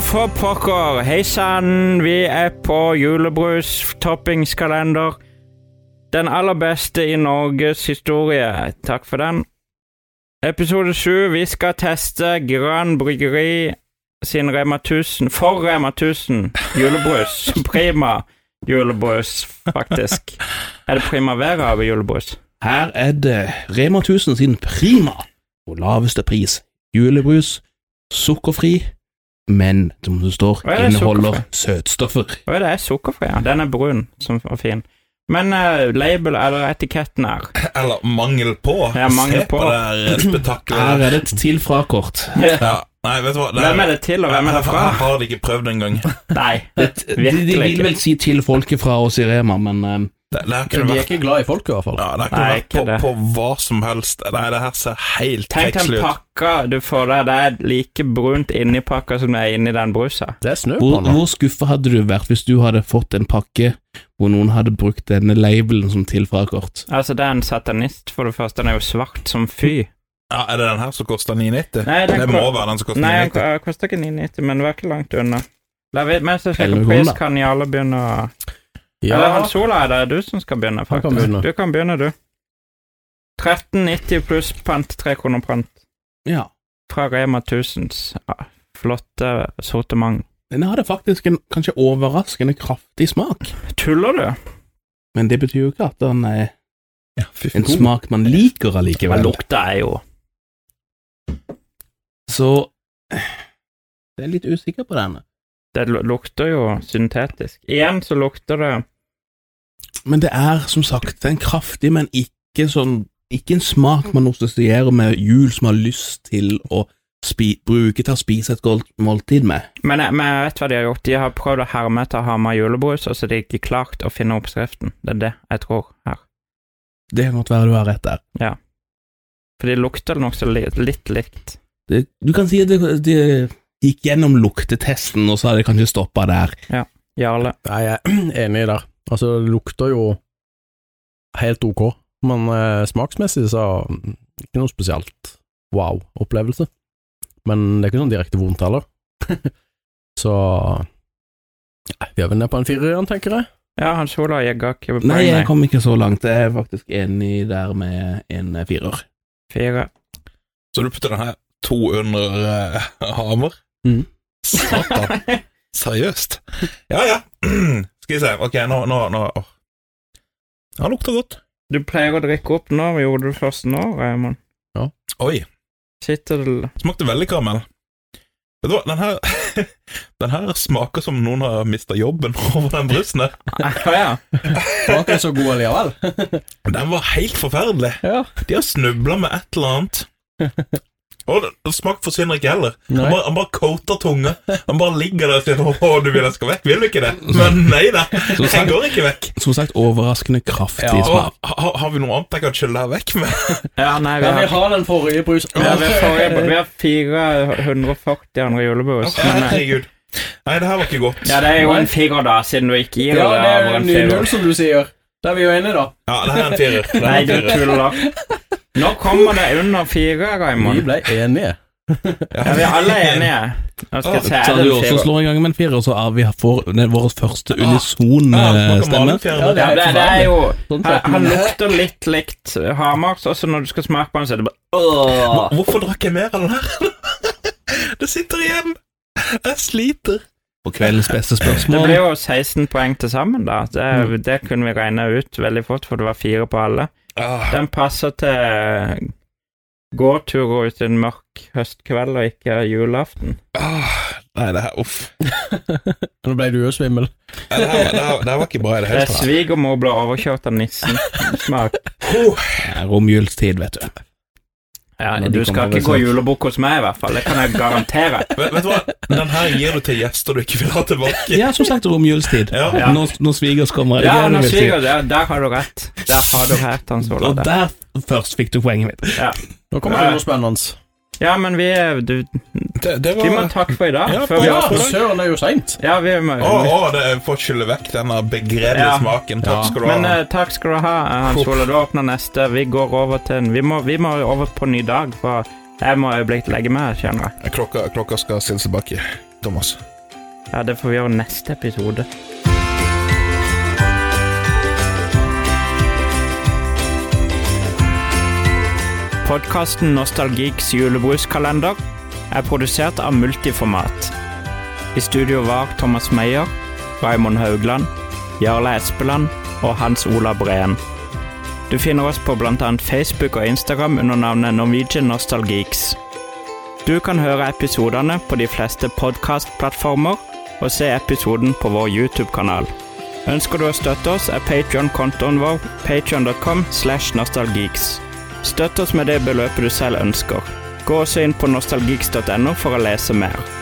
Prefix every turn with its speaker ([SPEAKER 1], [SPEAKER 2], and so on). [SPEAKER 1] for pokker! Hei sann, vi er på julebrus-toppingskalender. Den aller beste i Norges historie. Takk for den. Episode sju, vi skal teste Gran Bryggeri sin Rema 1000, for Rema 1000, julebrus. Prima julebrus, faktisk. Er det primavera av julebrus?
[SPEAKER 2] Her er det Rema 1000 sin Prima på laveste pris. Julebrus, sukkerfri, men som det står,
[SPEAKER 1] Hva er det
[SPEAKER 2] inneholder søtstoffer.
[SPEAKER 1] Å, det er sukkerfri, ja. Den er brun som og fin. Men eh, label, eller etiketten her
[SPEAKER 3] Eller mangel på.
[SPEAKER 1] Ja, mangel
[SPEAKER 3] Se
[SPEAKER 1] på.
[SPEAKER 3] på det her eh,
[SPEAKER 2] Her
[SPEAKER 3] spetakkelet.
[SPEAKER 2] er det et til frakort.
[SPEAKER 3] Ja. Nei, vet du hva
[SPEAKER 1] Hvem er det til, og hvem er det fra?
[SPEAKER 3] Her har de ikke prøvd engang.
[SPEAKER 1] Nei.
[SPEAKER 2] De, de
[SPEAKER 1] Virkelig
[SPEAKER 2] vil
[SPEAKER 1] ikke.
[SPEAKER 2] vel si til folket fra oss i Rema, men eh,
[SPEAKER 3] Det, det her
[SPEAKER 4] De
[SPEAKER 3] kunne
[SPEAKER 4] er
[SPEAKER 3] vært,
[SPEAKER 4] ikke glad i folk, i hvert fall.
[SPEAKER 3] ja, det her kunne
[SPEAKER 1] Nei,
[SPEAKER 3] vært
[SPEAKER 1] ikke
[SPEAKER 3] på,
[SPEAKER 1] det.
[SPEAKER 3] på hva som helst. Nei, det her ser helt
[SPEAKER 1] Tenk den
[SPEAKER 3] tekstlig ut.
[SPEAKER 1] pakka du får der. Det er like brunt inni pakka som det er inni den brusa.
[SPEAKER 4] Det er snø på
[SPEAKER 2] hvor,
[SPEAKER 4] den. nå.
[SPEAKER 2] hvor skuffa hadde du vært hvis du hadde fått en pakke hvor noen hadde brukt denne labelen som til frakort?
[SPEAKER 1] Altså, det er en satanist, for det første. Den er jo svart som fy.
[SPEAKER 3] Ja, er det den her som koster 990?
[SPEAKER 1] Nei, den
[SPEAKER 3] det
[SPEAKER 1] ko-
[SPEAKER 3] må være den som koster
[SPEAKER 1] Nei, den
[SPEAKER 3] 990.
[SPEAKER 1] ko- koster ikke 990, men det var ikke langt unna. La vi, mens jeg
[SPEAKER 2] Eller
[SPEAKER 1] sjekker
[SPEAKER 2] vi går,
[SPEAKER 1] pris,
[SPEAKER 2] da.
[SPEAKER 1] kan alle begynne å Eller
[SPEAKER 4] Ja,
[SPEAKER 1] Hans Ola, det er du som skal begynne,
[SPEAKER 4] kan
[SPEAKER 1] faktisk.
[SPEAKER 4] begynne.
[SPEAKER 1] Du kan begynne, du. 1390 pluss pant, 3 kroner pant.
[SPEAKER 2] Ja.
[SPEAKER 1] Fra Rema 1000s ah, flotte sortiment.
[SPEAKER 2] Den hadde faktisk en kanskje overraskende kraftig smak,
[SPEAKER 1] Tuller du?
[SPEAKER 2] men det betyr jo ikke at den er
[SPEAKER 3] Ja, fy
[SPEAKER 2] en
[SPEAKER 3] faen.
[SPEAKER 2] smak man liker allikevel.
[SPEAKER 1] lukta er jo
[SPEAKER 2] Så jeg er litt usikker på denne.
[SPEAKER 1] Det lu- lukter jo syntetisk. Igjen så lukter det
[SPEAKER 2] Men det er som sagt en kraftig, men ikke sånn Ikke en smak man assosierer med jul som har lyst til å spi, bruke til å spise et godt måltid med.
[SPEAKER 1] Men jeg, men jeg vet hva de har gjort. De har prøvd å herme etter Hamar julebrus, og så har de ikke klart å finne oppskriften. Det er det jeg tror her.
[SPEAKER 2] Det kan godt være du har rett der.
[SPEAKER 1] For de lukter nokså li litt likt.
[SPEAKER 2] Det, du kan si at det, det gikk gjennom luktetesten, og så har det kanskje stoppa der.
[SPEAKER 1] Jarle.
[SPEAKER 4] Nei, jeg er enig der. Altså, det lukter jo helt ok, men eh, smaksmessig så mm, ikke noe spesielt wow-opplevelse. Men det er ikke sånn direkte vondt heller. så Nei, vi er vel nede på en firer igjen, tenker jeg.
[SPEAKER 1] Ja, Hans Ola jegga ikke på
[SPEAKER 2] Nei, jeg
[SPEAKER 1] poeng.
[SPEAKER 2] kom ikke så langt. Jeg er faktisk enig der med en eh, firer.
[SPEAKER 1] Fire.
[SPEAKER 3] Så du putter den her 200 eh, hammer?
[SPEAKER 4] Mm.
[SPEAKER 2] Mhm.
[SPEAKER 3] Satan. Seriøst? Ja, ja. Skal vi se. Ok, nå, nå, nå. åh. Ja, Den lukter godt.
[SPEAKER 1] Du pleier å drikke opp nå. Hva gjorde du først nå, Raymond?
[SPEAKER 3] Oi.
[SPEAKER 1] Sitter du
[SPEAKER 3] Smakte veldig karamell. Vet du hva, den her, den her smaker som noen har mista jobben over den brusen der.
[SPEAKER 1] Å ja.
[SPEAKER 4] Var ikke så god allikevel.
[SPEAKER 3] Den var helt forferdelig.
[SPEAKER 4] ja.
[SPEAKER 3] De har snubla med et eller annet. Og det- det smak forsvinner ikke heller. Han
[SPEAKER 4] Nei.
[SPEAKER 3] bare, han bare coater tunga. Han bare ligger der og sier 'Å, du vil jeg skal vekk'. Vil du ikke det? Men nei da. Jeg går ikke vekk.
[SPEAKER 2] Som sagt, overraskende kraftig
[SPEAKER 4] Ja.
[SPEAKER 2] smak.
[SPEAKER 3] Og, har, har vi noe annet jeg kan skylle her vekk med?
[SPEAKER 1] ja. Nei, vi
[SPEAKER 4] Ja, vi
[SPEAKER 1] har,
[SPEAKER 4] har den forrige brusen.
[SPEAKER 1] ja, vi har, forrige- vi har 440 andre julebrus. Men, eh,
[SPEAKER 3] Herregud. Nei, det her var ikke godt.
[SPEAKER 1] ja, det er jo en firer, da, siden du ikke gir
[SPEAKER 4] Ja,
[SPEAKER 1] deg
[SPEAKER 4] det
[SPEAKER 1] over
[SPEAKER 4] er
[SPEAKER 1] en
[SPEAKER 4] ny
[SPEAKER 1] firer.
[SPEAKER 4] null, som du sier. Da er vi jo enige, da.
[SPEAKER 3] Ja, det her er en firer. Det her er
[SPEAKER 1] Nei,
[SPEAKER 3] en
[SPEAKER 1] du
[SPEAKER 3] firer.
[SPEAKER 1] tuller. Nå kommer det under fire,
[SPEAKER 4] Vi
[SPEAKER 1] Raymond.
[SPEAKER 4] ble enige.
[SPEAKER 1] Ja, vi er alle enige. Nå skal jeg se
[SPEAKER 2] Så
[SPEAKER 1] er
[SPEAKER 2] hadde
[SPEAKER 1] det
[SPEAKER 2] vi
[SPEAKER 1] en
[SPEAKER 2] også
[SPEAKER 1] firer.
[SPEAKER 2] slår i gang med en firer, så er vi får den- vår første unisone
[SPEAKER 3] Ja, det smaker
[SPEAKER 2] stemme.
[SPEAKER 3] malenfjær.
[SPEAKER 4] Ja, det
[SPEAKER 1] Ja,
[SPEAKER 4] er
[SPEAKER 1] det,
[SPEAKER 4] helt
[SPEAKER 1] det er
[SPEAKER 4] forferdelig.
[SPEAKER 1] jo
[SPEAKER 4] Sånn
[SPEAKER 1] Han,
[SPEAKER 4] sett,
[SPEAKER 1] han
[SPEAKER 4] men-
[SPEAKER 1] lukter litt likt Hamars, og så når du skal smake på den, så er det bare Åh.
[SPEAKER 3] Hvor- Hvorfor drakk jeg mer av den her? det sitter igjen! Jeg sliter.
[SPEAKER 2] På kveldens beste
[SPEAKER 1] Det
[SPEAKER 2] spørsmål.
[SPEAKER 1] ble jo 16 poeng til sammen, da.
[SPEAKER 4] Mm.
[SPEAKER 1] Det, det kunne vi regne ut veldig fort, for det var fire på alle.
[SPEAKER 3] Ah,
[SPEAKER 1] Den passer til eh, gåturer ute en mørk høstkveld, og ikke julaften.
[SPEAKER 3] ah, nei, det her Uff.
[SPEAKER 4] Nå ble du jo svimmel.
[SPEAKER 3] Nei, Det her, var- det her, det her var ikke bra i det
[SPEAKER 1] Det
[SPEAKER 3] hele
[SPEAKER 1] er
[SPEAKER 3] tatt.
[SPEAKER 1] Eh, svigermor ble overkjørt av nissen. Smak.
[SPEAKER 2] Det er Romjulstid, vet du.
[SPEAKER 1] Ja,
[SPEAKER 2] Når de
[SPEAKER 1] du skal
[SPEAKER 2] kommer
[SPEAKER 1] ikke gå
[SPEAKER 2] over,
[SPEAKER 1] julebukk hos meg, i hvert fall. Det kan jeg garantere.
[SPEAKER 3] Vet, vet du hva? Den her gir du til gjester du ikke vil ha tilbake.
[SPEAKER 2] Ja, som sagt, romjulstid.
[SPEAKER 3] Ja.
[SPEAKER 1] Ja.
[SPEAKER 2] Når, når svigers kommer.
[SPEAKER 1] Ja,
[SPEAKER 2] igjen,
[SPEAKER 1] nå
[SPEAKER 2] vil si.
[SPEAKER 1] sviger det. Der har du rett. Der har du rett, Hans
[SPEAKER 2] Og
[SPEAKER 1] Olav.
[SPEAKER 2] der først fikk du poenget mitt.
[SPEAKER 4] Nå kommer det noe spennende.
[SPEAKER 1] Ja, men vi er- du,
[SPEAKER 3] Det, det var
[SPEAKER 1] Vi må takke for i dag.
[SPEAKER 3] Ja,
[SPEAKER 1] før vi-
[SPEAKER 4] Ja,
[SPEAKER 3] for
[SPEAKER 4] for
[SPEAKER 3] deg.
[SPEAKER 4] søren, det er jo seint.
[SPEAKER 1] ja vi må,
[SPEAKER 3] Å, å, det er for å skylle vekk denne begredelige
[SPEAKER 1] Ja.
[SPEAKER 3] smaken. Takk
[SPEAKER 4] Ja.
[SPEAKER 3] skal du ha.
[SPEAKER 1] Men eh, takk skal du ha, eh, Hans Olav. Du åpner neste. Vi går over til en Vi må, vi må over på en ny dag, for jeg må øyeblikkelig legge meg, kjenner jeg.
[SPEAKER 3] klokka, klokka skal stilles tilbake, Thomas.
[SPEAKER 1] Ja, det får vi gjøre neste episode. Podkasten Nostalgiks julebruskalender er produsert av Multiformat. I studio var Thomas Meyer, Raimond Haugland, Jarle Espeland og Hans Ola Breen. Du finner oss på bl.a. Facebook og Instagram under navnet Norwegian Nostalgeeks. Du kan høre episodene på de fleste podkastplattformer og se episoden på vår YouTube-kanal. Ønsker du å støtte oss, er Patreon-kontoen vår patreon.com slash nostalgeeks. Støtt oss med det beløpet du selv ønsker. Gå også inn på nostalgeeks.no for å lese mer.